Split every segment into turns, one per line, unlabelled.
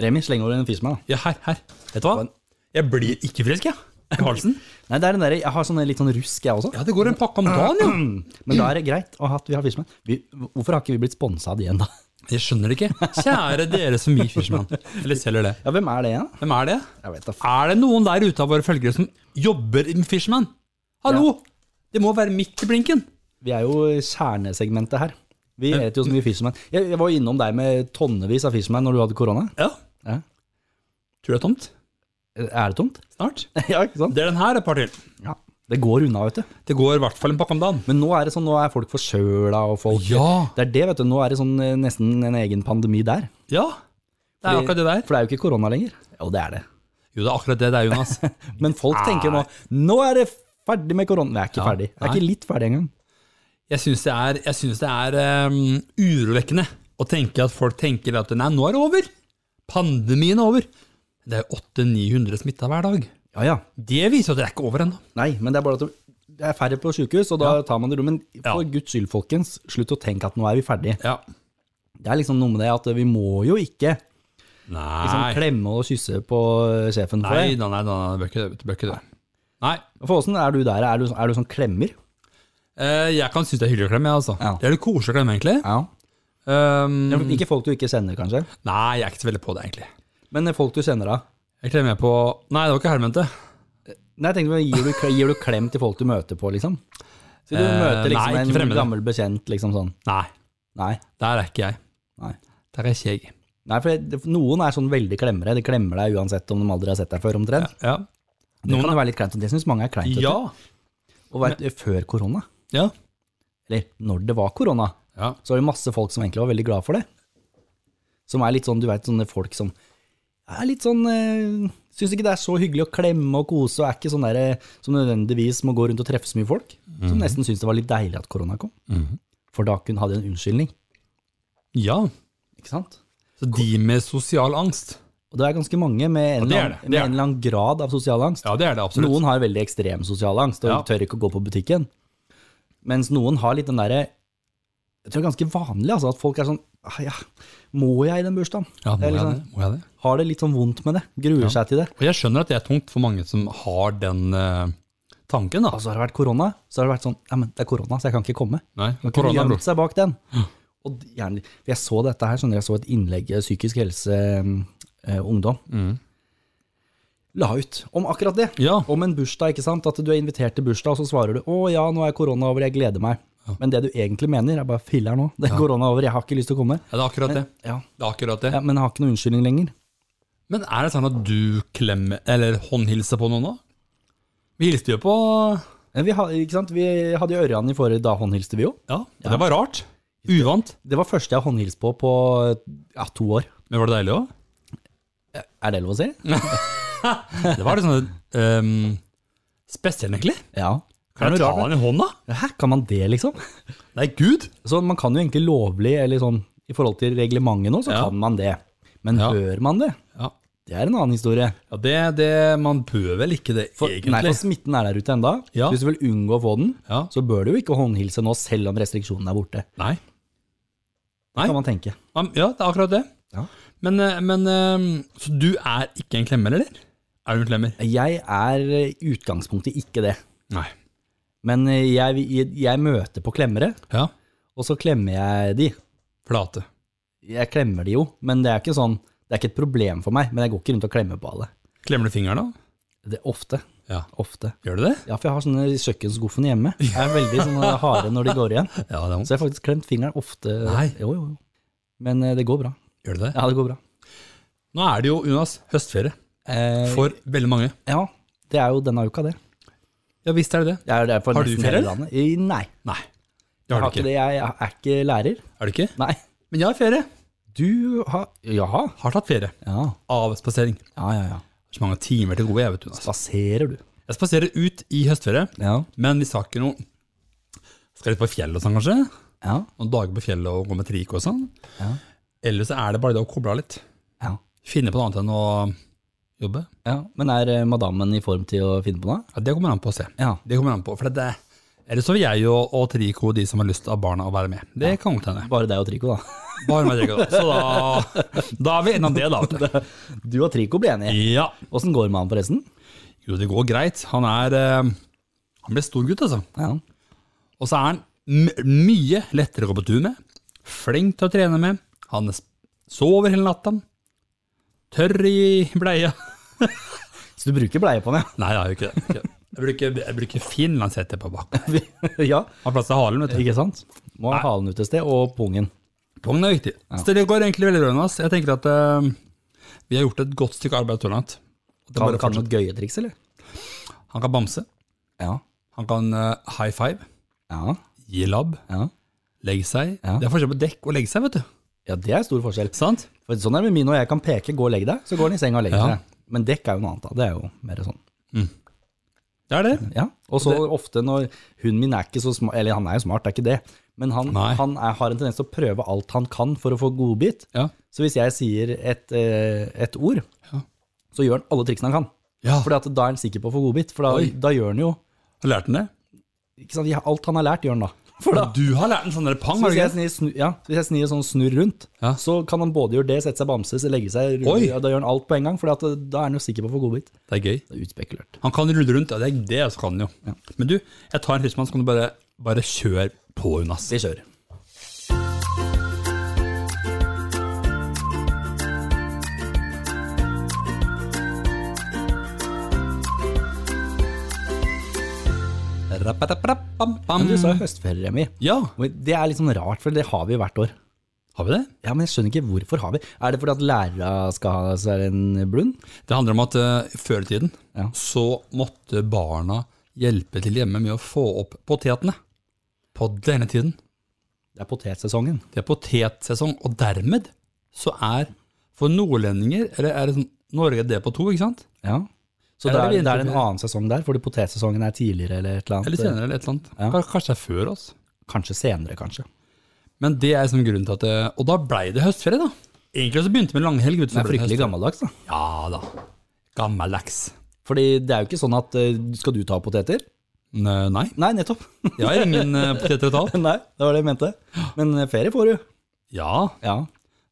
Remi, sleng over en fis meg, da.
Ja, her, her. Vet du hva? Jeg blir ikke frisk, jeg. I halsen.
Nei, det er den der, jeg har sånn litt sånn rusk, jeg også.
Ja, det går en pakke om dagen, jo.
Men da er det greit å ha at vi har Fishman. Vi, hvorfor har ikke vi blitt sponsa av de ennå?
Jeg skjønner det ikke. Kjære dere som gir Fisherman. Eller selger det.
Ja, hvem er det igjen?
Hvem er det?
Jeg vet da f...
Er det noen der ute av våre følgere som jobber med Fisherman? Hallo! Det må være midt i blinken.
Vi er jo i kjernesegmentet her. Vi heter jo så mye Fishman. Jeg, jeg var jo innom deg med tonnevis av Fishman når du hadde korona.
Ja.
Ja.
Tror det er tomt.
Er det tomt?
Snart.
ja, ikke sant?
Det er den her et par til.
Ja. Det går unna, vet du.
Det går i hvert fall en pakke om dagen.
Men nå er det sånn, nå er folk forkjøla og folk
Ja.
Det er det, vet du. Nå er det sånn eh, nesten en egen pandemi der.
Ja. Det er akkurat det der.
For det er jo ikke korona lenger. Jo, det er det.
Jo, det er akkurat det det er, Jonas.
Men folk tenker nå Nå er det ferdig med korona. Det er ikke
Ja.
ferdig. Det er ikke litt ferdig engang.
Jeg syns det er, jeg synes det er ehm, urovekkende å tenke at folk tenker at nei, nå er det over. Pandemien er over. Det er 800-900 smitta hver dag.
Ja, ja.
Det viser jo at det er ikke over ennå.
Nei, men det er bare at det er færre på sykehus, og da tar man det ro. Men for
Ja.
guds skyld, folkens, slutt å tenke at nå er vi ferdige.
Ja.
Det er liksom noe med det at vi må jo ikke liksom,
Nei.
klemme og kysse på sjefen for
Nei,
det.
nei, nei, nei, nei, bør ikke det. vet du, Bør ikke det. Nei.
For åssen er du der? Er du, er du sånn klemmer?
Eh, jeg kan synes det er hyggelig å klemme, jeg, altså.
Ja.
Det er litt koselig å klemme, egentlig.
Ja.
Ehm,
Ikke folk du ikke sender, kanskje?
nei, jeg er ikke så veldig på det, egentlig.
Men folk du sender, da?
Jeg klemmer på Nei, det var ikke helvete.
Nei, jeg tenkte, gir, du, gir du klem til folk du møter på, liksom? Så du
Eh,
møter liksom
nei, ikke fremmede.
en gammel bekjent, liksom sånn?
Nei,
Nei.
der er ikke jeg.
Nei.
Der er ikke jeg.
Nei, for det, noen er sånn veldig klemmere. De klemmer deg uansett om de aldri har sett deg før, omtrent.
Ja.
Det
Noen
kan jo være litt kleint, og det syns mange er kleint. vet du.
Ja.
Og vet, du, før korona,
Ja.
eller når det var korona,
ja.
så var det masse folk som egentlig var veldig glad for det. Som er litt sånn, du vet, sånne folk som er litt sånn eh, Syns ikke det er så hyggelig å klemme og kose, og er ikke sånn der eh, som nødvendigvis må gå rundt og treffe så mye folk.
Mhm.
Som nesten syns det var litt deilig at korona kom. For da kunne ha de en unnskyldning,
ja.
ikke sant?
Så de med sosial angst?
Og det er ganske mange med en,
det er
eller annen-
det, det
med
er
en eller annen grad av sosial angst.
Ja, det er det absolutt.
Noen har veldig ekstrem sosial angst og
Ja.
tør ikke å gå på butikken. Mens noen har litt den derre Jeg tror det er ganske vanlig altså, at folk er sånn «Ah, ja, Må jeg i den bursdagen?
ja, må,
Det er
jeg
liksom-
det? må jeg det?
Har det litt sånn vondt med det. Gruer seg til det.
Og jeg skjønner at det er tungt for mange som har den eh, tanken, da.
Og så Altså, har det vært korona. Så har det vært sånn Ja, men det er korona, så jeg kan ikke komme.
Nei,
Man kunne
korona,
gjemt
bror.
seg bak den. Og gjerne, for jeg så dette her, skjønner du, jeg så et innlegg eh, Psykisk helse eh, ungdom la ut om akkurat det.
Mm. Ja.
Om en bursdag, ikke sant? At du er invitert til bursdag, og så svarer du 'Å ja, nå er korona over, jeg gleder meg'. Men det du egentlig mener, er bare 'filler'n nå, det er korona over, jeg har ikke lyst til å komme'.
Ja, det er akkurat det.
Ja.
det, er akkurat det.
ja, Men jeg har ikke noen unnskyldning lenger.
Men er det sånn at du klemmer eller håndhilser på noen nå? Vi hilste jo på
Men Vi, har- ikke sant? vi hadde jo Ørjan i forrige, da håndhilste vi jo.
ja, det var rart. Uvant.
Det var første jeg håndhilste på på ja, to år.
Men var det deilig òg?
Er det lov å si?
Mm. Det var litt sånn ehm, spesielt, egentlig.
Ja.
Kan
det
jeg
er
ta
noe rart,
den i hånda?
det. Hæ, kan man det, liksom?
Nei, gud!
Så man kan jo egentlig lovlig, eller sånn i forhold til reglementet nå, så
Ja.
kan man det. Men
Ja.
bør man det?
Ja,
Det er en annen historie.
ja det, det Man bør vel ikke det,
For,
egentlig.
nei, for smitten er der ute enda.
Ja.
Så Hvis du vil unngå å få den,
ja.
så bør du jo ikke håndhilse nå, selv om restriksjonene er borte.
nei. Nei.
Kan man tenke.
Ja, ja, det er akkurat det.
Ja.
Men, eh, men eh, Så du er ikke en klemmer, eller? Er du en klemmer?
Jeg er eh, i utgangspunktet ikke det.
Nei.
Men eh, jeg, jeg møter på klemmere,
Ja.
og så klemmer jeg de.
Flate.
Jeg klemmer de jo, men det er ikke sånn, det er ikke et problem for meg, men jeg går ikke rundt og klemmer på alle.
Klemmer du fingeren, da?
Det er ofte,
Ja.
ofte.
Gjør du det?
Ja, for jeg har sånne kjøkkenskuffene hjemme. Jeg er veldig sånne harde når de går igjen.
Ja, det
Så jeg har faktisk klemt fingeren ofte.
Nei.
Jo, jo, jo. Men eh, det går bra.
Gjør du det?
Ja, det går bra.
Nå er det jo, Jonas, høstferie
Eh,
for veldig mange.
ja, det er jo denne uka, det.
Ja visst er det det.
Jeg er der for
Har du
nesten
ferie,
hele landet. I- Nei,
Nei, det
jeg har
har du
ikke
ikke.
det. Jeg er ikke lærer.
Er du ikke?
Nei.
Men jeg har ferie.
Du har Jaha.
Har tatt ferie.
Ja,
Avspasering. Det
ja, ja. ja.
er Så mange timer til gode, jeg vet du. Jonas.
Spaserer du?
Jeg spaserer ut i høstferie,
Ja.
men vi skal ikke noe Skal litt på fjellet og sånn, kanskje?
Ja.
Noen dager på fjellet og gå med trikot og sånn.
Ja.
Eller så er det bare det å koble av litt.
ja.
Finne på noe annet enn å jobbe.
ja. Men er eh, madammen i form til å finne på noe?
Ja, det kommer an på å se.
Ja.
Det kommer an på, for det, Eller så vil jeg jo, og Trico de som har lyst av barna å være med. Det kan godt hende.
Bare deg og Trico, da.
Bare meg, Trico. Så da, da er vi enige om det, da. vet du.
Du og Trico blir enige.
Ja.
Åssen går det med han forresten?
Jo, det går greit. Han er eh, Han ble stor gutt, altså.
Ja.
Og så er han m mye lettere å gå på tur med. Flink til å trene med. Han s- sover hele natta. Tørr i bleia.
Så du bruker bleie på han,
Nei, jeg gjør ikke det. Ikke det. Jeg bruker, jeg bruker finlandshette på bakken.
ja? ja,
Har plass til halen, vet du.
ikke sant? Må ha halen ut et sted, og pungen.
Pungen er viktig. Så det går egentlig veldig bra. Jonas. Jeg tenker at eh, vi har gjort et godt stykke arbeid så langt. Det er
Kan
bare å
kan noe gøyetriks, eller?
fortsette. Han kan bamse.
Ja.
Han kan eh, high five.
Ja,
Gi labb.
ja.
Legge seg.
Ja.
Det er forskjell på dekk og legge seg, vet du.
Ja, det er stor forskjell.
Sant?
For sånn er det med min når jeg kan peke, gå og legge deg, så går den i senga og legger
Ja.
seg. Men dekk er jo noe annet, da. Det er jo mer sånn.
Det er det.
Ja. Og så ofte når hunden min er ikke så smart, eller han er jo smart, det er ikke det, men han,
Nei.
han er, har en tendens til å prøve alt han kan for å få godbit.
Ja.
Så hvis jeg sier et, eh, et ord,
Ja.
så gjør han alle triksene han kan.
ja.
For da er han sikker på å få godbit, for da,
Oi.
da gjør han jo
Har du lært den det?
ikke sant? Alt han har lært, gjør han da. For da
Men Du har lært en sånn der pang,
så hvis
har du
jeg
ikke?
snir, snu, ja, så hvis jeg snir sånn snurr rundt,
Ja.
så kan han både gjøre det, sette seg bamse, så legge seg rulle,
Oi.
ja, Da gjør han alt på en gang, for da er han jo sikker på å få godbit.
Det er gøy.
Det er utspekulert.
Han kan rulle rundt, ja, det er det jeg kan jo. Men du, jeg tar en tidsmann, så kan du bare, bare kjøre på, Jonas.
Vi kjører.
Rapparapparapam-pam.
Men du sa jo høstferie, Remi.
Ja,
Og Det er litt sånn rart, for det har vi jo hvert år.
har vi det?
Ja, Men jeg skjønner ikke hvorfor har vi Er det fordi at lærere skal ha seg en blund?
Det handler om at eh, før i tiden
Ja.
så måtte barna hjelpe til hjemme med å få opp potetene. På denne tiden.
Det er potetsesongen.
Det er potetsesong, og dermed så er for nordlendinger, eller er det sånn, Norge er det på to, ikke sant?
Ja. Så det
Eller
er,
vinter-
det er en annen sesong der, fordi potetsesongen er tidligere eller et eller
Eller
annet.
senere, eller et eller annet.
Ja.
K- Kanskje det er før oss.
Kanskje senere, kanskje.
Men det er som grunnen til at det, Og da blei det høstferie, da. Egentlig så begynte vi med langhelg. vet du,
Det
så
er
ble
fryktelig
høstferie.
gammeldags, da.
Ja da. Gammeldags.
Fordi det er jo ikke sånn at eh, Skal du ta poteter?
Nø, Nei,
Nei, nettopp.
jeg har ingen eh, poteter å ta opp.
Nei, det var det jeg mente. Men eh, ferie får du.
Ja,
Ja.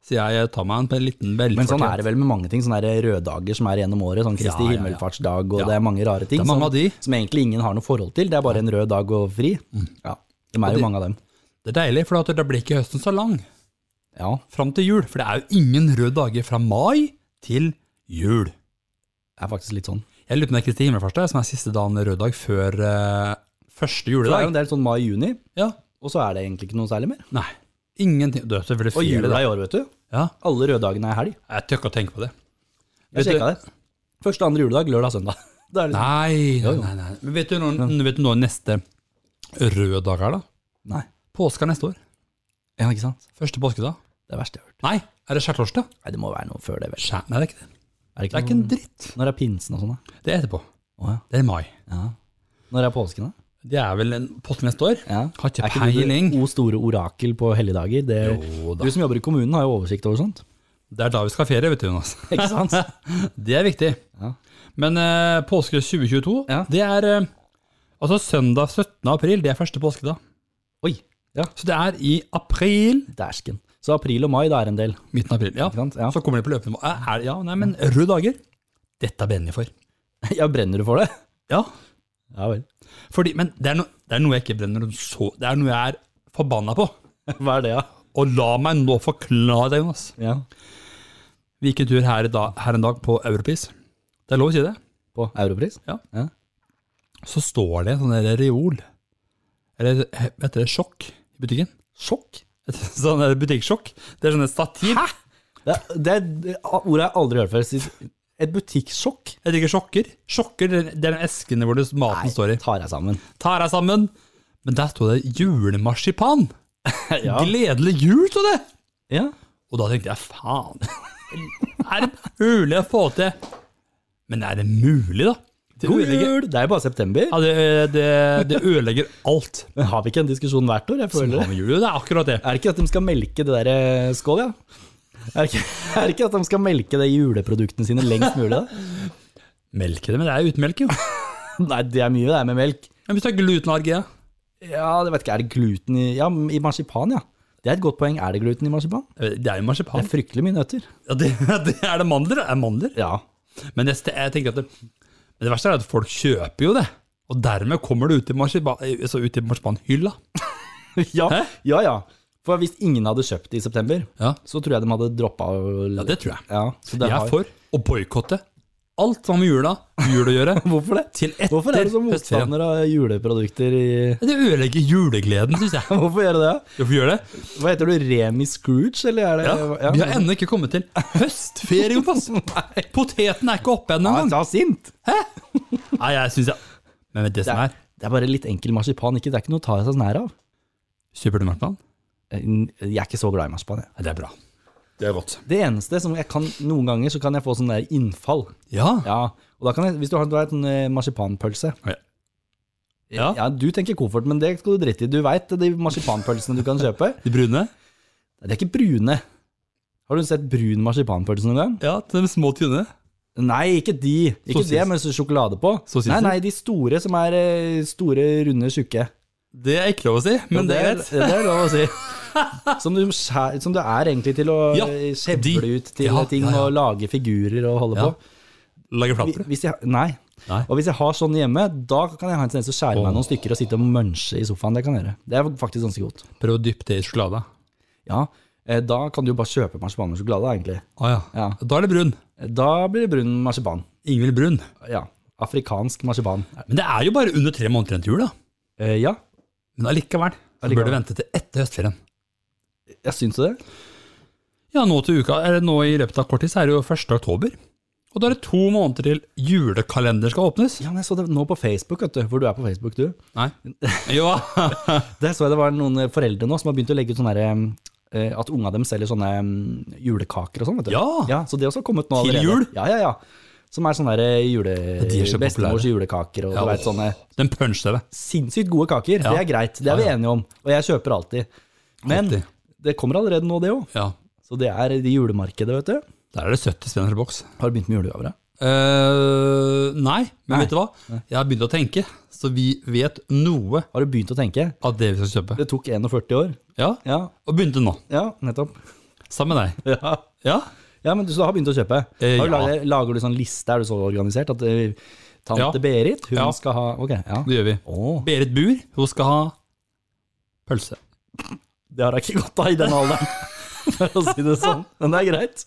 så jeg tar meg en på en liten velfortjent.
Men sånn er det vel med mange ting. Sånne der røddager som er gjennom året. Sånn Kristi
Ja, ja, ja.
himmelfartsdag, og
Ja.
det altså. er mange rare ting
Det er mange av de.
Som, som egentlig ingen har noe forhold til. Det er bare en rød dag og fri. Ja, De er
de-
jo mange av dem.
Det er deilig, for at da blir ikke høsten så lang
Ja,
fram til jul. For det er jo ingen røde dager fra mai til jul.
det er faktisk litt sånn.
Jeg lurer på om det er Kristi himmelfartsdag som er siste dagen rød dag før eh,
Så
første
det er jo
juledag.
en del sånn mai-juni,
Ja,
og så er det egentlig ikke noe særlig mer.
Nei. Ingenting. Det er selvfølgelig
Og
ferie,
jula
da.
i år, vet du.
Ja,
Alle røddagene er helg.
jeg tør ikke å tenke på det.
Jeg
Vet du-
sjekka det. Første andre juledag, lørdag, søndag. Da er det
Nei, nei, nei, nei. Men vet du når, vet du når neste rød dag er, da?
Nei.
Påske er neste år.
Ja, ikke sant?
Første påskedag.
Det er verst jeg har hørt.
Nei, er det skjærtorsdag?
Nei, det må være noe før det, vel.
Skjær... Nei, det er ikke det.
Er det
Det er ikke en dritt.
Når er pinsen og sånn, da?
Det er etterpå.
Å ja.
Det er i mai.
ja. Når er påsken, da?
Det er vel en påske neste år?
Ja.
Har ikke
Er ikke du
peiling.
det O store orakel på helligdager. Det,
Jo da.
du som jobber i kommunen har jo oversikt over sånt.
Det er da vi skal ha ferie, vet du, Jonas.
Ikke sant?
Det er viktig.
Ja.
Men eh, påske 2022,
Ja.
det er eh, Altså søndag 17. april, det er første påskedag.
Oi, ja.
Så det er i april.
Dæsken. Så april og mai, da er en del.
Midten av april, ja.
Ikke sant? Ja.
Så kommer de på løpende Er, er, ja, nei, men røde dager. Dette brenner jeg for.
ja, brenner du for det?
Ja,
Ja vel.
Fordi, men det er, no, det er noe jeg ikke brenner så Det er noe jeg er forbanna på.
Hva er det, ja?
Og la meg nå forklare deg, Jonas.
ja.
Vi gikk en tur her, i dag, her en dag på Europris. Det er lov å si det.
På Europris?
Ja.
Ja.
Så står det en sånn der reol, eller he- heter det sjokk, i butikken.
Sjokk?
Et sånn der butikksjokk. Det er sånn et stativ. Hæ?
Det, er- det er det er ordet jeg aldri har hørt før. Et butikksjokk?
Jeg drikker sjokker. Sjokker det er den eskene hvor det, maten står i.
tar jeg sammen.
Tar deg sammen. Men der sto det julemarsipan. Gledelig jul, sto det.
Ja.
Og da tenkte jeg, faen, er det mulig å få til? Men er det mulig, da? Det
God
ødelegger,
jul! Det er jo bare september.
ja, det, det, det ødelegger alt.
Men har vi ikke en diskusjon hvert år? Jeg føler det.
Ja, men jul, det er akkurat det.
Er det ikke at de skal melke det der eh, Skål, ja. Er det ikke, er det ikke at de skal melke det i juleproduktene sine lengst mulig? da?
Melke det, men det er uten melk, jo.
Nei, det er mye det er med melk.
Men hvis du har glutenallergi, ja.
Ja, det vet ikke, er det gluten i Ja, i marsipan, ja. Det er et godt poeng. Er det gluten i marsipan?
Jeg vet- Eh, Det er jo
Det
marsipan.
er fryktelig mye nøtter.
Ja, det, det, er det mandler? da? Er det mandler?
Ja.
Men jeg, jeg tenker at det, men det verste er at folk kjøper jo det. Og dermed kommer det ut i, marsipan, altså ut i marsipanhylla.
ja.
Hæ?
Ja, ja. For hvis ingen hadde kjøpt det i september,
Ja.
så tror jeg de hadde droppa å
ja, det tror jeg.
Ja, så det
Jeg er
har-
for å boikotte alt som har med jula, jul å gjøre,
Hvorfor det?
til etter
Hvorfor er du så
høstferien.
motstander av juleprodukter i
Det ødelegger julegleden, syns jeg.
Hvorfor gjøre det?
Hvorfor gjør det?
Hva heter du? Remi Scrooge, eller er det
Ja, Vi har
Eh, ja.
ennå ikke kommet til høstferie, Jonas. Poteten er ikke oppe ennå
Ja,
engang.
ta sint!
Nei, jeg syns jeg Men vet du
Det
det som
er,
er
det er bare litt enkel marsipan, ikke, det er ikke noe å ta seg nær av.
Super du marsipan?
Jeg er ikke så glad i marsipan, jeg.
Nei, Det er bra. Det er godt.
Det eneste som jeg kan Noen ganger så kan jeg få sånn der innfall.
Ja.
Ja, og da kan jeg, Hvis du har du vet, en eh, marsipanpølse
ja.
Ja, Du tenker koffert, men det skal du drite i. Du veit de marsipanpølsene du kan kjøpe.
De brune?
De er ikke brune. Har du sett brun marsipanpølse noen gang?
Ja, de små, tynne.
Nei, ikke de. Ikke
Sossis.
det med sjokolade på.
Sossiser?
Nei, nei, de store som er eh, store, runde, tjukke.
Det er ikke lov å si, men det er
er-
greit.
det er lov å si. Som du, skjær, som du er egentlig til å
Ja,
eh,
de.
skjevle ut til
Ja,
ting
ja, ja.
og lage figurer og holde
Ja.
på.
Lager
Hvi-
flatbrød.
Hvis jeg, nei.
Nei.
Og hvis jeg har sånn hjemme, da kan jeg ha en tendens til å skjære meg
Åh.
noen stykker og sitte og munche i sofaen. Det kan jeg gjøre. Det er faktisk ganske godt.
Prøv å dyppe det i sjokolade.
Ja, eh, da kan du jo bare kjøpe marsipan med sjokolade, egentlig.
Å Ah, ja.
Ja.
Da er det brun.
Da blir det brun marsipan.
Ingvild Brun.
Ja. Afrikansk marsipan.
Men det er jo bare under tre måneder igjen til jul, da.
Eh, ja,
Men allikevel så bør
Allikevel.
du vente til etter høstferien.
jeg syns jo det.
Ja, nå til uka, eller nå i løpet av kort tid, så er det jo 1. oktober. Og da er det to måneder til julekalender skal åpnes.
Ja, men jeg så det nå på Facebook, vet du. For du er på Facebook, du.
Nei. Jo,
Der så jeg det var noen eh, foreldre nå som har begynt å legge ut sånne her, eh, at unga dem selger sånne eh, julekaker og sånn, vet du.
Ja.
Så det også har kommet nå
Til
allerede.
jul?
Ja, ja, ja. Som er sånne der jule...
de er så
bestemors
populære.
julekaker og
Ja,
du vet, sånne
den punch-TV.
sinnssykt gode kaker.
Ja.
Det er greit, det er vi
Ja, ja.
enige om. Og jeg kjøper alltid. Men
Alltid.
det kommer allerede nå, det òg.
Ja,
Så det er de julemarkedet, vet du.
der er det 70 spenn per boks.
Har du begynt med julegaver? da?
Eh, nei,
Nei.
men vet du hva? Jeg har begynt å tenke, så vi vet noe
Har du begynt å tenke?
av det vi skal kjøpe.
Det tok 41 år.
Ja,
Ja,
og begynte nå.
ja nettopp.
Sammen med deg.
Ja.
Ja,
Ja, men du, så du har begynt å kjøpe?
Eh,
har du
ja.
lager, lager du sånn liste, er du så organisert at eh, tante
Ja.
Berit, hun
Ja.
skal ha Ok, ja.
det gjør vi.
Åh,
Berit Bur, hun skal ha pølse.
det har jeg ikke godt av i den alderen, for å si det sånn. Men det er greit.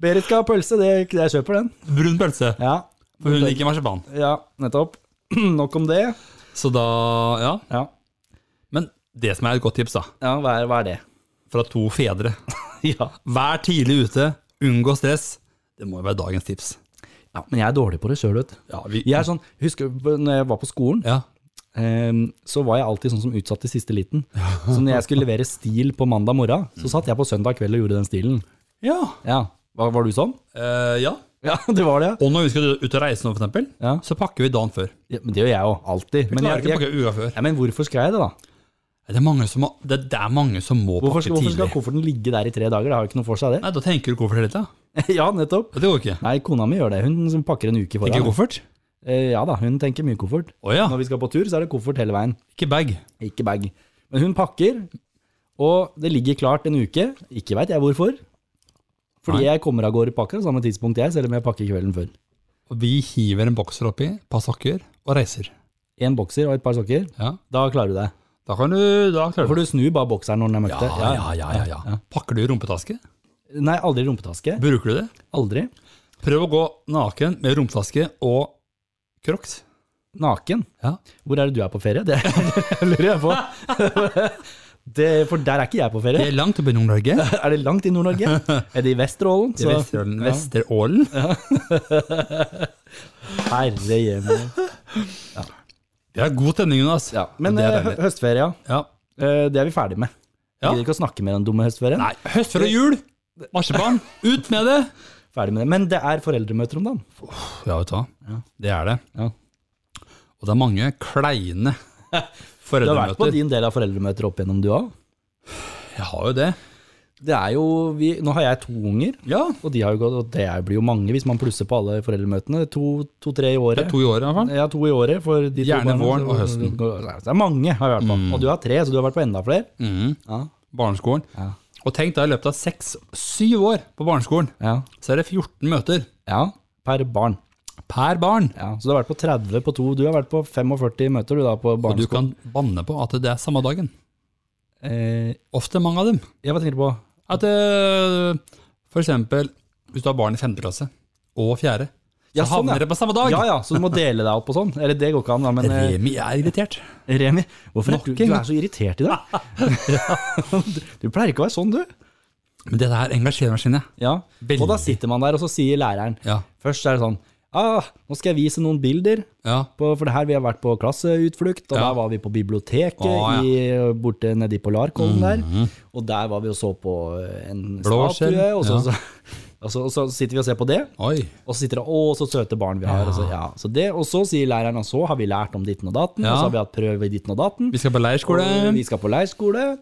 Berit skal ha pølse, det, jeg kjøper den.
Brun pølse,
Ja,
for hun liker marsipan.
ja nettopp. Nok om det.
Så da, ja.
Ja,
Men det som er et godt tips, da,
ja hva, er, hva er det?
fra to fedre
Ja.
Vær tidlig ute, unngå stress. Det må jo være dagens tips.
ja, men jeg er dårlig på det sjøl, vet du.
Ja, vi,
Jeg er sånn, husker du når jeg var på skolen,
ja.
Ehm, så var jeg alltid sånn som utsatt til siste liten. Så når jeg skulle levere stil på mandag morgen, så satt jeg på søndag kveld og gjorde den stilen.
Ja.
Ja, Var, var du sånn?
Eh, ja.
Ja, det var det, ja.
Og når vi skal ut og reise nå, for eksempel,
Ja.
så pakker vi dagen før.
ja men det gjør jeg jo alltid.
Vi
Men,
klarer
jeg,
ikke å
jeg,
pakke uka før.
ja, men hvorfor skal jeg det, da?
Det er mange som må, det, det er mange som må
Hvorfor
pakke
skal, hvorfor skal
tidlig.
kofferten ligge der i tre dager? Det har jo ikke noe for seg, det.
Nei, Da tenker du koffert litt, da.
ja, nettopp.
Og Det går ikke.
Nei, kona mi gjør det. Hun som pakker en uke
Tenker
foran.
du koffert?
Eh, ja da, hun tenker mye koffert.
Å ja,
Når vi skal på tur, så er det koffert hele veien,
ikke bag.
ikke bag. Men hun pakker, og det ligger klart en uke. Ikke veit jeg hvorfor. Fordi
Nei.
jeg kommer av gårde pakka samme tidspunkt jeg, selv om jeg pakker kvelden før.
Og vi hiver en bokser oppi, et par sokker, og reiser.
En bokser og et par sokker,
Ja.
da klarer du deg.
Da kan du Da klarer
For
du
du snur bare bokseren når den er
ja,
møkkete.
ja, ja, ja, ja. Pakker du rumpetaske?
Nei, aldri rumpetaske.
Bruker du det?
Aldri.
Prøv å gå naken med rumpetaske og crocs.
Naken.
Ja.
Hvor er det du er på ferie? Det lurer jeg på. Det, for der er ikke jeg på
Vi
ferie.
er langt oppe i Nord-Norge.
Er det langt i Nord-Norge? Er det i Vesterålen?
I
Så-
Vesterålen. Vesterålen.
Herre hjemme.
Det er god stemning, Jonas.
Ja. Men
det er
eh, hø-
deilig.
høstferie, ja.
Ja.
Eh, Det er vi ferdig med. Vi
Ja.
gidder ikke å snakke mer om dumme høstferien.
Nei, høstferie og jul! Marsipan, ut med det!
Ferdig med det. Men det er foreldremøter om dagen.
Ja, vet du hva. Det er det.
Ja.
Og det er mange kleine
Du har vært på
foreldremøter.
din del av foreldremøter opp igjennom, du òg?
Jeg har jo det.
Det er jo, vi, nå har jeg to unger,
Ja,
og, de har jo gått, og det er- blir jo mange hvis man plusser på alle foreldremøtene. To- To-tre i
det er
året.
to i året i hvert fall.
Jeg har to i året. For de to
Gjerne
barna,
våren
så-
og høsten. Mm.
Det er mange, har jeg vært på. Og du har tre, så du har vært på enda flere.
Mhm.
Ja.
Barneskolen.
Ja.
Og tenk da, i løpet av seks-syv år på barneskolen,
Ja.
så er det 14 møter
ja. Per barn.
per barn.
Ja, så du har vært på 30 på to. Du har vært på 45 møter du da på
Og du
barneskolen.
kan banne på at det er samme dagen.
Eh,
Ofte mange av dem.
ja, hva tenker du på?
At eh, for eksempel, hvis du har barn i femte klasse og fjerde, så
Ja, sånn,
havner
ja.
det på samme dag.
Ja ja, så du må dele deg opp og sånn. Eller det går ikke an, da, men eh,
Remi er irritert.
Remi, hvorfor er
Nok
du,
en
du
gang.
er så irritert i dag? du, du pleier ikke å være sånn, du.
Men dette her engasjerer meg, kjenner jeg.
Ja,
Veldig.
Og da sitter man der, og så sier læreren
Ja.
Først er det sånn ah, Nå skal jeg vise noen bilder,
ja.
på, for det her vi har vært på klasseutflukt, og
Ja.
der var vi på biblioteket
Å, Mhm.
i, borte nedi Polarkollen der. Og der var vi og så på eh, en
Blåskjell,
statue, og så, så,
ja.
og, så, og så sitter vi og ser på det.
Oi.
Og så sitter det 'Å, så søte barn vi har'. Og, så, ja, så det, og så sier læreren og så har vi lært om ditten og datten, og
Ja.
så har vi hatt prøve i ditten og datten.
Vi skal på leirskole.
og Vi skal på leirskole,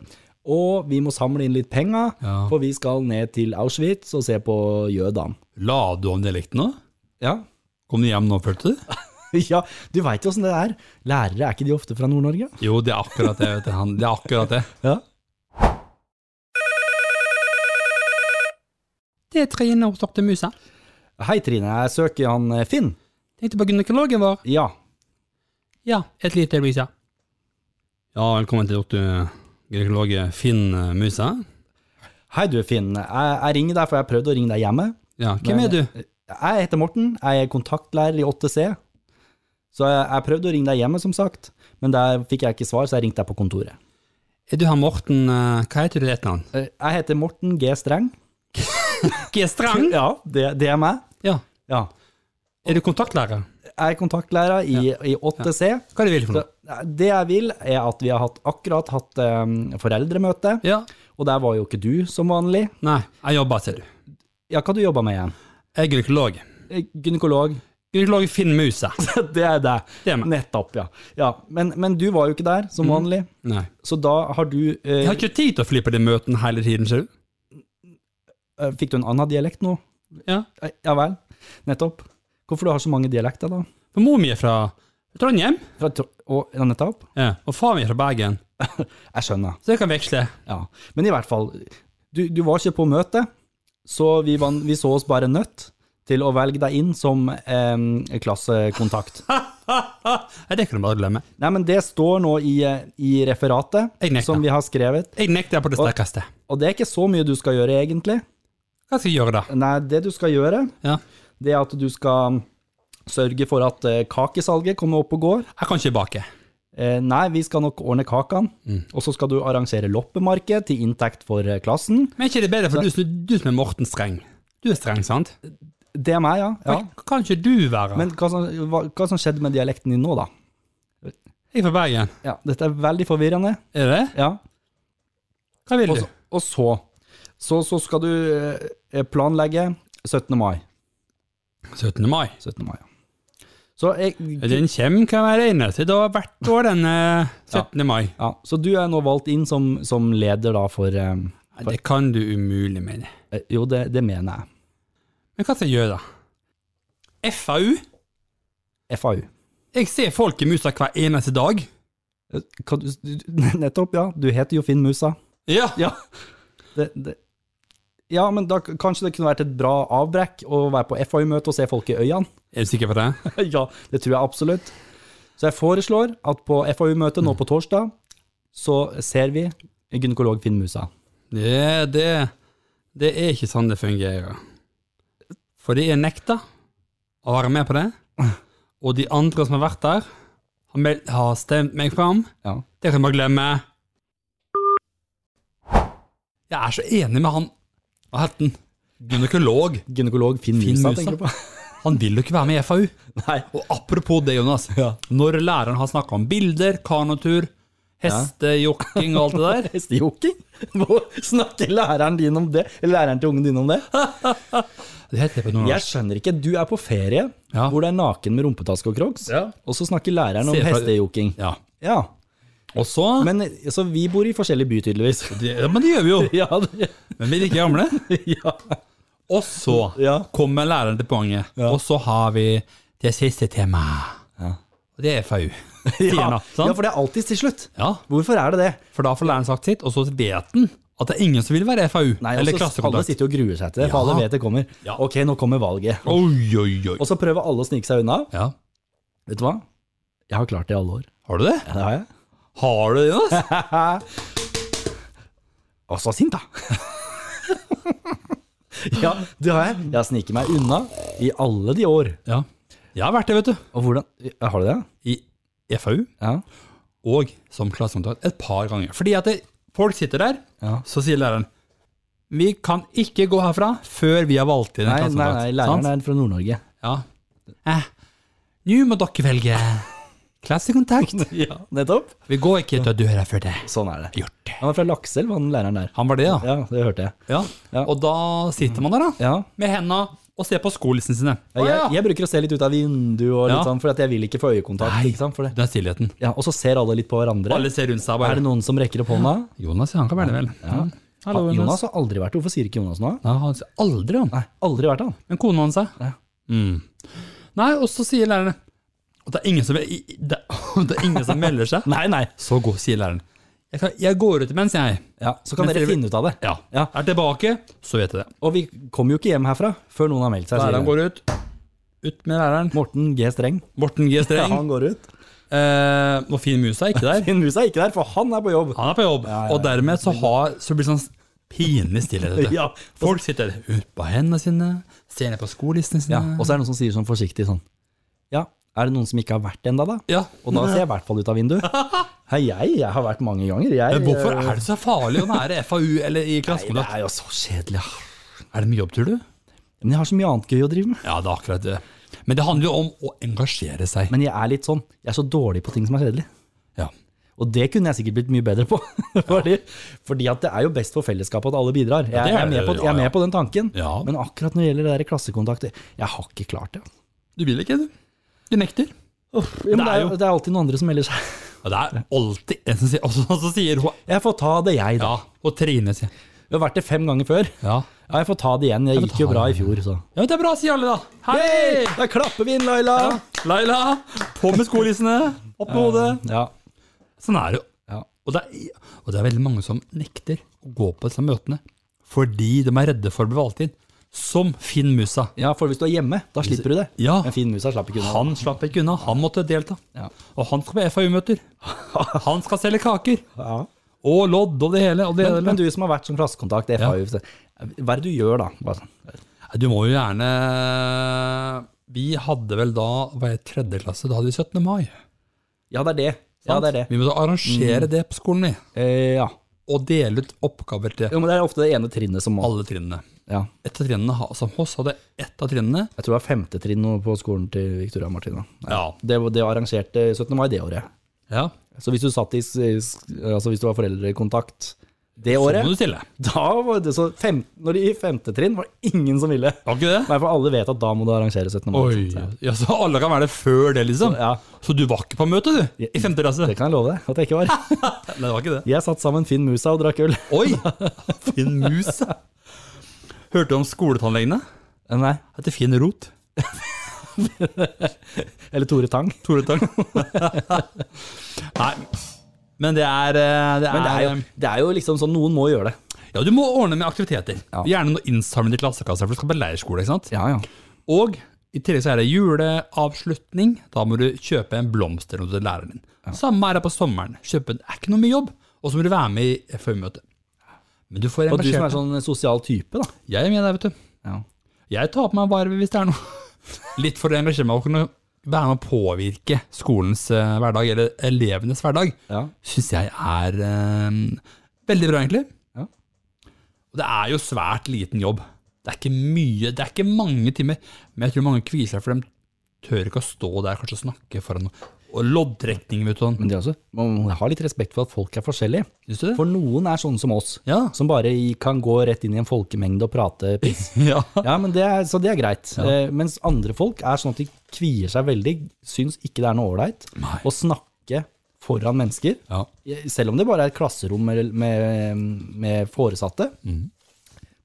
og vi må samle inn litt penger,
Ja.
for vi skal ned til Auschwitz og se på jødene.
La du om dialekten nå?
Ja.
Kom du hjem nå, følte du?
ja, du veit jo åssen det er. Lærere, er ikke de ofte fra Nord-Norge?
Jo, det er akkurat det. Vet du. Han, det er akkurat det.
Ja.
Det er Trine hos Dr. Musa.
Hei, Trine. Jeg søker han eh, Finn.
Tenkte på gynekologen vår.
Ja.
Ja, et lite øyeblikk, ja. Ja, velkommen til doktor gynekolog Finn eh, Musa.
Hei du, Finn. Jeg, jeg ringer deg, for jeg har prøvd å ringe deg hjemme.
Ja, hvem
Men- eh,
er du?
Jeg heter Morten. Jeg er kontaktlærer i 8C. Så jeg, jeg prøvde å ringe deg hjemme, som sagt, men der fikk jeg ikke svar, så jeg ringte deg på kontoret.
Er du han Morten eh, Hva heter du i etternavn?
Eh, Jeg heter Morten G. Streng.
G. Strang.
Ja, det, det er meg.
Ja.
Ja.
Er du kontaktlærer?
Jeg er kontaktlærer i, i 8C.
Hva er det du vil for
Så,
noe?
eh, det jeg vil, er at vi har hatt, akkurat hatt eh, foreldremøte,
Ja.
og der var jo ikke du som vanlig.
Nei, jeg jobber, ser du.
Ja, hva du jobber med igjen?
Jeg er gynekolog.
Eh, Gynekolog.
Gynekolog Finn Musa.
Det er deg.
Det er meg.
Nettopp, ja. ja. Men, men du var jo ikke der, som vanlig.
Nei.
Så da har du eh,
Jeg har Mm. ikke tid til å fly på de møtene hele tiden, ser du.
eh, Fikk du en annen dialekt nå?
Ja.
Eh, Ja vel. Nettopp. Hvorfor du har så mange dialekter, da?
For mor mi er fra Trondheim,
Fra, Tro- og, ja, nettopp?
ja. og far min er fra Bergen,
Jeg skjønner.
så jeg kan veksle.
Ja. Men i hvert fall, du, du var ikke på møtet, så vi, var, vi så oss bare nødt til å velge deg inn som eh, klassekontakt.
Nei, det kan du bare glemme.
Nei, men det står nå i, eh, i
Jeg
referatet
nekter.
som vi har skrevet,
Jeg nekter på det sterkeste.
og det er ikke så mye du skal gjøre, egentlig.
Hva skal jeg gjøre da?
Nei, det du skal gjøre,
Ja.
det er at du skal sørge for at eh, kakesalget kommer opp og går.
Jeg kan ikke bake.
Eh, Nei, vi skal nok ordne kakene, og så skal du arrangere loppemarked til inntekt for eh, klassen.
Men er ikke det bedre for du, som- du som er Morten Streng? Du er streng, sant?
Det er meg, ja. ja.
Men Kan ikke du være?
Men hva som, hva, hva som skjedde med dialekten din nå, da?
Jeg er fra Bergen.
Ja, dette er veldig forvirrende.
Er det?
Ja.
Hva vil
Og,
du?
så, og så, så, så skal du eh, planlegge 17. mai.
17. mai.
17. mai, ja. Så, jeg,
Den kommer kan være eneste da hvert år den eh, 17. mai.
ja, så du er nå valgt inn som, som leder da for eh,
Nei, Det kan du umulig mene.
eh, Jo, det, det mener jeg.
Men hva skal jeg gjøre da? FAU?
FAU.
Jeg ser folk i musa hver eneste dag.
Kan du, du- nettopp, ja. Du heter jo Finn Musa.
Ja.
Ja. Det, det. ja, men da k- kanskje det kunne vært et bra avbrekk å være på FAU-møte og se folk i øynene?
Er du sikker på det?
ja, det tror jeg absolutt. Så jeg foreslår at på FAU-møtet nå på torsdag, så ser vi gynekolog Finn Musa.
Det, det, det er ikke sånn det fungerer. For de er nekta å være med på det. Og de andre som har vært der, har, meld, har stemt meg fram.
Ja.
Det kan jeg bare glemme. Jeg er så enig med han Hva het han? Gynekolog.
Gynekolog Finn,
Finn
Musa,
Musa?
tenker du på?
Han vil jo ikke være med i FAU.
Nei.
Og apropos det, Jonas. Når læreren har snakka om bilder, kanotur, hestejokking og alt det der
Hestejoking? Hvor snakker læreren din om det? Eller læreren til ungen din om det?
Det heter det på nordnorsk.
Jeg skjønner ikke. Du er på ferie
Ja.
hvor det er naken med rumpetaske og crocs,
Ja.
og så snakker læreren om
Se for-
hestejoking.
Ja.
Ja.
Og så
Men eh, så vi bor i forskjellige by, tydeligvis.
det, ja, Men det gjør vi jo.
Ja, det,
Men vi er ikke gamle.
ja.
Og så
Ja.
kommer læreren til poenget.
Ja.
Og så har vi det siste temaet.
Ja.
Og det er FAU. Sier
Ja.
han, Sånn. sant?
ja, for det er alltid til slutt.
Ja,
Hvorfor er det det?
for da får læreren sagt sitt, og så vet han at det er ingen som vil være FAU.
Nei, altså,
eller
alle
klassekontakt.
sitter jo og gruer seg til det, for
Ja.
alle vet det kommer.
Ja.
Ok, nå kommer valget.
Oi, oi, oi.
Og så prøver alle å snike seg unna.
Ja.
Vet du hva? Jeg har klart det i alle år.
Har du det?
Ja, det har jeg.
Har du det, Jonas?
Og så sint, da. ja, det har jeg. Jeg har sniket meg unna i alle de år.
Ja. Jeg har vært det, vet du.
Og hvordan Ja, Har du det?
I FAU
Ja.
og som klassekontakt et par ganger. Fordi at det, folk sitter der,
Ja.
så sier læreren vi kan ikke gå herfra før vi har valgt inn en
Nei, nei,
klassekontakt.
nei, læreren
Sant?
er fra Nord-Norge.
Ja. Eh, Nå må dere velge klassekontakt.
Ja, nettopp.
Vi går ikke ut av døra før det er
Sånn er det.
gjort.
Han var fra Lakselv, han læreren der.
Han var det, da.
Ja, det hørte jeg.
Ja.
Ja.
Og da sitter man der, da.
Ja.
Med henda og ser på skolissene sine.
Jeg,
Å, ja.
jeg bruker å se litt ut av vinduet, og litt
Ja.
sånn, for at jeg vil ikke få øyekontakt.
Nei.
Ikke sant, for det.
Det er stillheten.
Ja, og så ser alle litt på hverandre.
Alle ser rundt seg og
Er
bare
det noen som rekker opp hånda?
Jonas, ja, han kan være det, vel. Mm. Hallo,
Ja,
Jonas.
Jonas har aldri vært det. Hvorfor sier ikke Jonas noe?
Nei, han sier aldri, han.
Nei, aldri vært han.
Men kona hans er.
Ja.
Mm. Nei, og så sier læreren Og det er ingen som, i- i- det, det er ingen som melder seg.
Nei, nei.
Så går, sier læreren. Jeg, kan, jeg går ut imens, jeg.
Ja, så kan
Men
dere
dere-
finne ut av det.
Ja.
Ja.
Er tilbake, så vet jeg det.
Og vi kommer jo ikke hjem herfra før noen har meldt seg. sier jeg.
Læreren går ut. Ut med læreren.
Morten G. Streng.
Morten G.
Ja,
Streng.
han går ut.
Eh, og Finn Mus er ikke der.
Finn Mus er ikke der, for han er på jobb.
Han er på jobb.
ja, ja.
Og dermed så, har, så blir det sånn pinlig stillhet. vet du.
Ja.
Folk sitter ut på hendene sine, ser ned på skolissene sine.
Ja, og så er det noen som sier sånn forsiktig sånn Ja, er det noen som ikke har vært ennå, da?
Ja.
Og da ser jeg i hvert fall ut av vinduet. Hei, jeg, jeg har vært mange ganger. Jeg,
Men hvorfor
eh,
er det så farlig å være FAU eller i
Nei,
klassekontakt?
det er jo så kjedelig. ah.
Er det mye jobbtur, du?
Men jeg har så mye annet gøy å drive med.
Ja, det er akkurat det. Men det handler jo om å engasjere seg.
Men jeg er litt sånn. Jeg er så dårlig på ting som er kjedelig.
Ja.
Og det kunne jeg sikkert blitt mye bedre på. fordi, fordi at det er jo best for fellesskapet at alle bidrar. Jeg,
det er
jeg, er, med
det,
på,
ja,
jeg er
ja.
med på den tanken.
Ja.
Men akkurat når det gjelder det der klassekontakt, jeg har ikke klart det.
Du vil ikke, du. Du nekter.
Ja, men
Det
det,
er
er,
jo-
det er alltid noen andre som melder seg.
Og det er alltid en som sier, og så, og så sier hun,
Jeg får ta det, jeg, da.
ja, og Trine sier,
Vi har vært det fem ganger før.
ja.
Ja, jeg får ta det igjen. Jeg
får
gikk
ta
jo bra i
det
fjor, så.
Ja, men det er bra, sier alle da.
Hei!
Hei!
Da klapper vi inn, Laila!
Ja. Leila, på med skolissene, opp med hodet.
Ja.
Sånn er det jo.
Ja.
Og det er, og det er veldig mange som nekter å gå på disse møtene, fordi de er redde for å bli valgt inn, som Finn Musa.
ja, for hvis du er hjemme, da slipper du det.
Ja,
Men Finnmusa slapp ikke unna.
han slapp ikke unna, han måtte delta.
Ja.
Og han skal på FAU-møter. Han skal selge kaker.
Ja.
Og lodd og det hele. Og det
Men,
hele.
men du som har vært som klassekontakt, FAU, så- hva er det du gjør da? Bare sånn.
Nei, Du må jo gjerne Vi hadde vel da hva er det, tredje klasse, da hadde vi 17. mai.
Ja, det er det. Ja,
sant?
det Mm. er det.
Vi måtte arrangere det på skolen, vi.
Eh, ja.
Og dele ut oppgaver til
Jo, men det er ofte det ene trinnet som må
alle trinnene.
ja.
Et av trinnene, ha- som oss hadde ett av trinnene.
Jeg tror det var femte trinn nå på skolen til Victoria Martina.
Ja.
Det, var- det arrangerte 17. mai det året.
ja.
Så hvis du, satt i, s- s- altså hvis du var foreldrekontakt det
Så må
året,
du stille.
da var det så fem, Når de i femte trinn var det ingen som ville.
Var ikke det?
Nei, for alle vet at da må du arrangere 17. mai.
Oi.
Så,
Ja, så alle kan være det før det, liksom?
Ja,
Så du var ikke på møtet, du? I femte klasse?
det kan jeg love deg at jeg ikke var.
Nei, det var ikke det.
Jeg satt sammen Finn Musa og drakk øl.
Oi! Finn Mus. Hørte du om skoletannlegene?
Eh, Nei,
Heter Finn Rot.
eller Tore Tang.
Tore Tang. Nei, men det er, eh, det er, eh,
Men det er jo, det er jo liksom sånn, noen må gjøre det.
Ja, du må ordne med aktiviteter.
Ja.
Gjerne noe innsamling i klassekassa, for du skal på leirskole. ikke sant?
Ja, ja.
Og i tillegg så er det juleavslutning. Da må du kjøpe en blomst eller noe til læreren din. Samme er det på sommeren. Kjøpe, det er ikke noe mye jobb. Og så må du være med i FAU-møtet. Men du får
Og du som
engasjert
er
deg.
sånn sosial type, da.
Jeg er med der, vet du.
Ja.
Jeg tar på meg bare hvis det er noe. Litt for å engasjere meg og kunne være med å påvirke skolens eh, hverdag, eller elevenes hverdag,
Ja.
syns jeg er eh, veldig bra, egentlig.
Ja.
Og det er jo svært liten jobb. Det er ikke mye, det er ikke mange timer, men jeg tror mange kvier seg, for de tør ikke å stå der kanskje og snakke foran noen. Og loddtrekning, vet du. sånn.
Men det er også, man må ha litt respekt for at folk er forskjellige.
Syns du det?
For noen er sånne som oss,
Ja.
som bare i- kan gå rett inn i en folkemengde og prate piss.
ja.
Ja, men det er, Så det er greit. Eh, mens andre folk er sånn at de kvier seg veldig, syns ikke det er noe ålreit
Nei.
å snakke foran mennesker,
Ja.
selv om det bare er et klasserom med, med, med foresatte.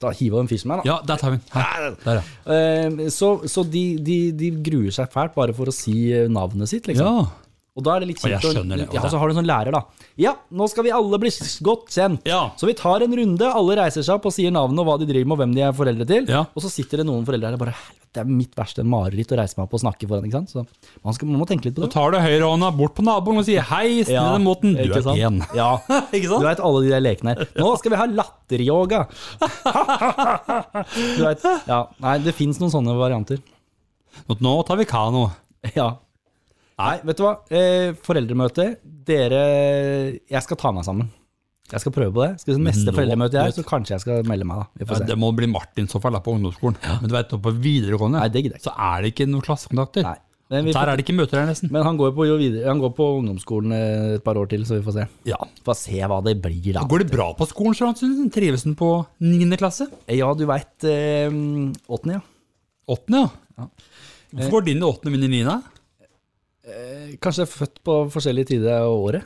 Da hiver den fysen meg, da.
ja, der tar vi den. Her. Der, ja.
Eh, Så, så de, de, de gruer seg fælt bare for å si eh, navnet sitt, liksom.
ja.
Og da er det litt
Og jeg
kjipt. å-
skjønner det, og
Ja,
det-
så har du en sånn lærer, da. Ja, nå skal vi alle bli s- godt kjent.
Ja.
Så vi tar en runde, alle reiser seg opp og sier navnet og hva de driver med og hvem de er foreldre til.
Ja.
Og så sitter det noen foreldre her og bare helvete, det er mitt verste mareritt å reise meg opp og snakke foran, ikke sant. Så man, skal, man må tenke litt på
Da
det.
tar du høyrehånda bort på naboen og sier hei, snill den måten. Du
ikke
er
sant?
én.
Ja.
Ikke
Du
sant?
veit alle de der lekene her. Nå skal vi ha latteryoga! Du vet, ja. Nei, det fins noen sånne varianter.
Nå tar vi kano.
Ja. Nei, vet du hva? Eh, foreldremøte, dere Jeg skal ta meg sammen. Jeg skal prøve på det. Skal vi se neste
nå-
foreldremøte jeg er, så kanskje jeg skal melde meg, da. Vi
Ja,
får se.
det må bli Martin som faller på ungdomsskolen. Men du vet, nå på videregående
Nei, det gidder jeg ikke.
så er det ikke noen klassekontakter.
Nei. Men, vi
Der
får,
er det ikke møter her, nesten.
men han går, på, jo videre, han går på ungdomsskolen eh, et par år til, så vi får se.
Ja.
Får se hva det blir, da.
Går det bra på skolen, Sjøland? Synes du? Trives den på 9. klasse?
Ja, du veit. Eh, åttende, ja.
Åttende, ja. Hvorfor går din i åttende, min i niende?
Eh, Kanskje jeg er født på forskjellige tider av året?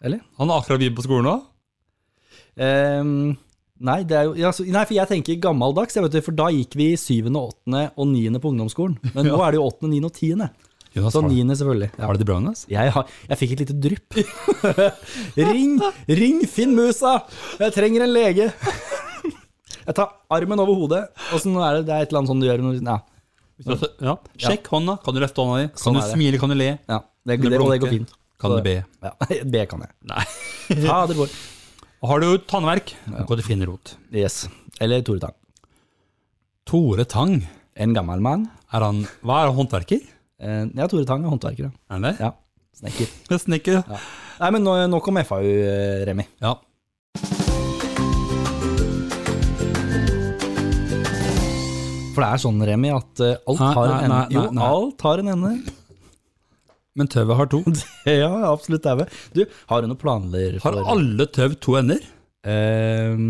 Eller?
Han har akkurat begynt på skolen nå.
Ehm, nei, det er jo, ja, så, nei, for jeg tenker gammeldags, jeg vet, du, for da gikk vi syvende, åttende og niende på ungdomsskolen. Men nå er det jo åttende, niende og tiende.
Jonas,
Så
har, du-
niende, selvfølgelig. Ja.
har du det bra, Jonas?
Jeg, har, jeg fikk et lite drypp. ring, ring Finn Musa! Jeg trenger en lege. Jeg tar armen over hodet, og sånn er det, det er et eller annet sånn du gjør når ja,
Ja. Sjekk hånda. Kan du løfte hånda di? Kan
Sånn
du
er det.
smile? Kan du le?
ja, det, det, og det går fint.
Kan du
Så-
be?
Ja, B kan jeg.
Nei.
Fader vår.
Har du tannverk? Gå til Finnerot.
Yes. Eller Tore Tang.
Tore Tang,
En gammel mann.
er han Hva er han, håndverker?
Eh, Ja, Tore Tang er håndverker. ja.
Er han det?
Ja, Snekker.
Snekker.
Nei, men nå- nok om FAU, eh, Remi.
Ja.
For det er sånn, Remi, at eh, alt
Nei,
har en
nei,
ende.
nei,
Jo,
nei, nei.
alt har en ende.
Men tøvet har to.
ja, absolutt daue. Du, har du noen planer
Har
for
alle tøv to ender?
Ehm,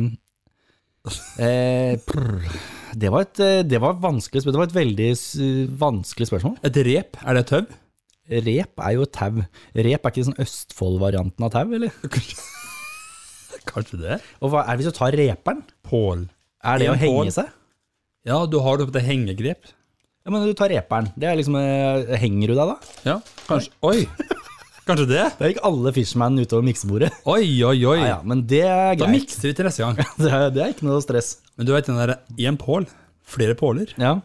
eh, prr. det, var et, eh, det var et vanskelig spørsmål. Det var et veldig s- vanskelig spørsmål.
Et rep, er det tøv?
Rep er jo et tau. Rep er ikke sånn Østfold-varianten av tau, eller?
Kanskje det.
Og hva er det hvis du tar reperen?
Pål.
Er det
En
å henge
pål.
seg?
Ja, du har det på det hengegrep.
Ja, men du tar reperen. Det er liksom, eh, henger du deg da?
Ja, kanskje. Oi! Kanskje det? Ah,
Det er ikke alle fishman utover miksebordet.
Oi, oi, oi.
Ja, ja, men det er
Da
greit.
mikser vi til neste gang.
Det er, det er ikke noe stress.
Men du vet den der én pål, flere påler,
Ja.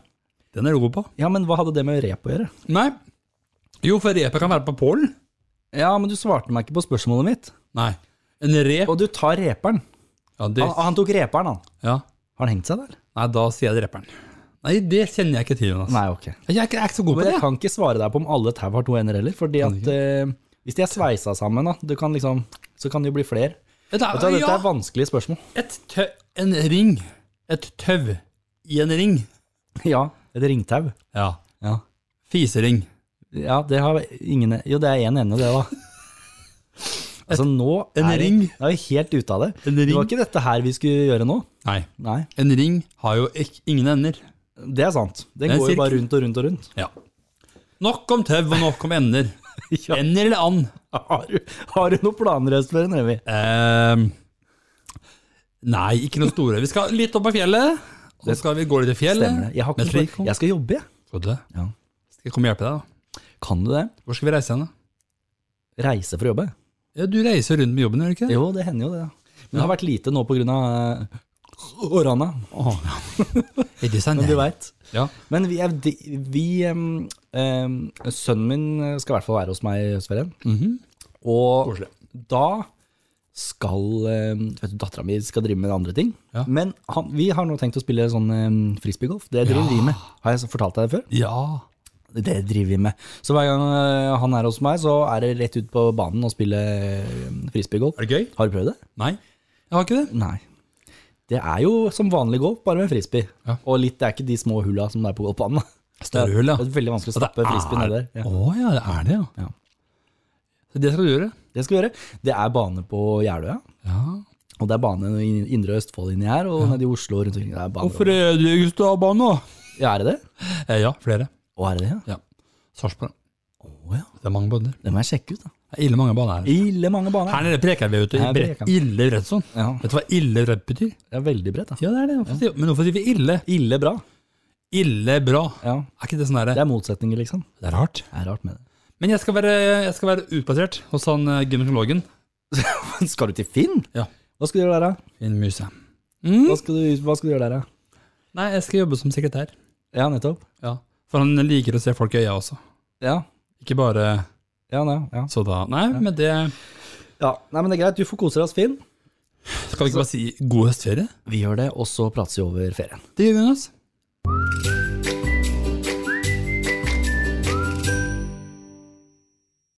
den er du god på.
ja, men hva hadde det med rep å gjøre?
Nei. Jo, for repet kan være på pålen.
Ja, men du svarte meg ikke på spørsmålet mitt.
Nei. En rep
Og du tar reperen.
Ja, det,
Han, han tok reperen, han.
ja.
Har han hengt seg der?
Nei, da sier jeg reperen. Nei, det kjenner jeg ikke til, Jonas.
Nei, ok.
Jeg er ikke, jeg er ikke så god på
Men
det.
jeg kan ikke svare deg på om alle tau har to ender heller, fordi at eh, hvis de er sveisa sammen, da, du kan liksom, så kan det jo bli flere.
Dette
Vet du, hva,
er,
Dette er
ja,
vanskelige spørsmål.
et tøv, en ring. Et tøv i en ring.
Ja, et ringtau.
Ja.
Ja.
Fisering.
ja, det har ingen e, Jo, det er én ende, det, da. Altså, nå
En
er
ring.
Det er jo helt ute av det.
En
Det var
ring.
ikke dette her vi skulle gjøre nå.
Nei.
Nei,
En ring har jo ikk- ingen ender.
det er sant. Den
Det er en
går jo bare
sirkel.
rundt og rundt og rundt.
Ja. Nok om tøv og nok om ender.
Ja.
Ender eller and?
Har du, har du noen planer, Espen Remi?
Ehm, nei, ikke noe store. Vi skal litt opp på fjellet. Og så skal vi gå litt i fjellet.
Stemmer det. Jeg, har
Med
ikke,
trikot.
jeg skal jobbe, jeg.
Skal du det?
Ja.
Skal jeg komme og hjelpe deg, da?
Kan du det?
Hvor skal vi reise hen, da?
Reise for å jobbe?
Ja, du reiser rundt med jobben, gjør du ikke?
Jo, det hender jo det. ja. Men det har vært lite nå pga. eh, korona,
Er det sant?
men du veit.
Ja.
Men vi, er, de- vi em, em, Sønnen min skal i hvert fall være hos meg i høstferien. Og
Koselig.
da skal em, vet du, Dattera mi skal drive med andre ting.
Ja.
Men han, vi har nå tenkt å spille sånn em, frisbeegolf. Det driver vi med. Har jeg fortalt deg det før?
ja.
Det driver vi med. Så hver gang eh, han er hos meg, så er det rett ut på banen og spille eh, frisbeegolf.
Er det gøy?
Har du prøvd det?
Nei. Jeg har ikke det.
Nei. Det er jo som vanlig golf, bare med frisbee.
Ja.
Og litt, det er ikke de små hulla som det er på golfbanen. da.
Større hull, ja.
Det er veldig vanskelig å
At
stappe frisbeen ned der.
Å
Ja.
ja, det er det, ja.
Ja.
Så det skal du gjøre.
Det skal vi gjøre. Det er bane på Jeløya,
Ja.
og det er bane i indre Østfold inni her, og nede i Oslo og rundt omkring. Det er bane.
Hvorfor er eh, du i Gustavbanen nå?
Ja, er det det?
Eh, ja, flere.
Å, er det det, ja?
Ja. Sarpsborg.
Å ja.
Det er mange bønder.
Det må jeg sjekke ut, da.
Det er ille mange baner her.
Ille mange baner.
Her er det preker vi er ute.
Her er
Bre-
preker.
Ille rett sånn.
Ja,
Vet du hva ille rett betyr?
det er veldig bredt. Da.
Ja, det er det. Hvorfor sier- Men hvorfor sier vi ille?
Ille bra.
Ille bra.
Ja,
Er ikke det sånn derre
det er motsetninger, liksom.
Det er rart.
Det er rart med det.
Men jeg skal være, jeg skal være utplassert hos han eh, gynekologen.
Skal du til Finn?
Ja.
Hva skal du gjøre der, da?
Fin muse. Mm.
Hva skal du, hva skal du gjøre der, da?
Nei, jeg skal jobbe som sekretær.
Ja, nettopp.
Ja. For han liker å se folk i øya også.
Ja,
Ikke bare
ja, nei, ja.
så da. Nei, men det
ja. Nei, men det er greit. Du får kose deg hos Finn.
Skal vi ikke bare si god høstferie?
Vi gjør det, og så prates vi over ferien.
Det gjør vi, Jonas.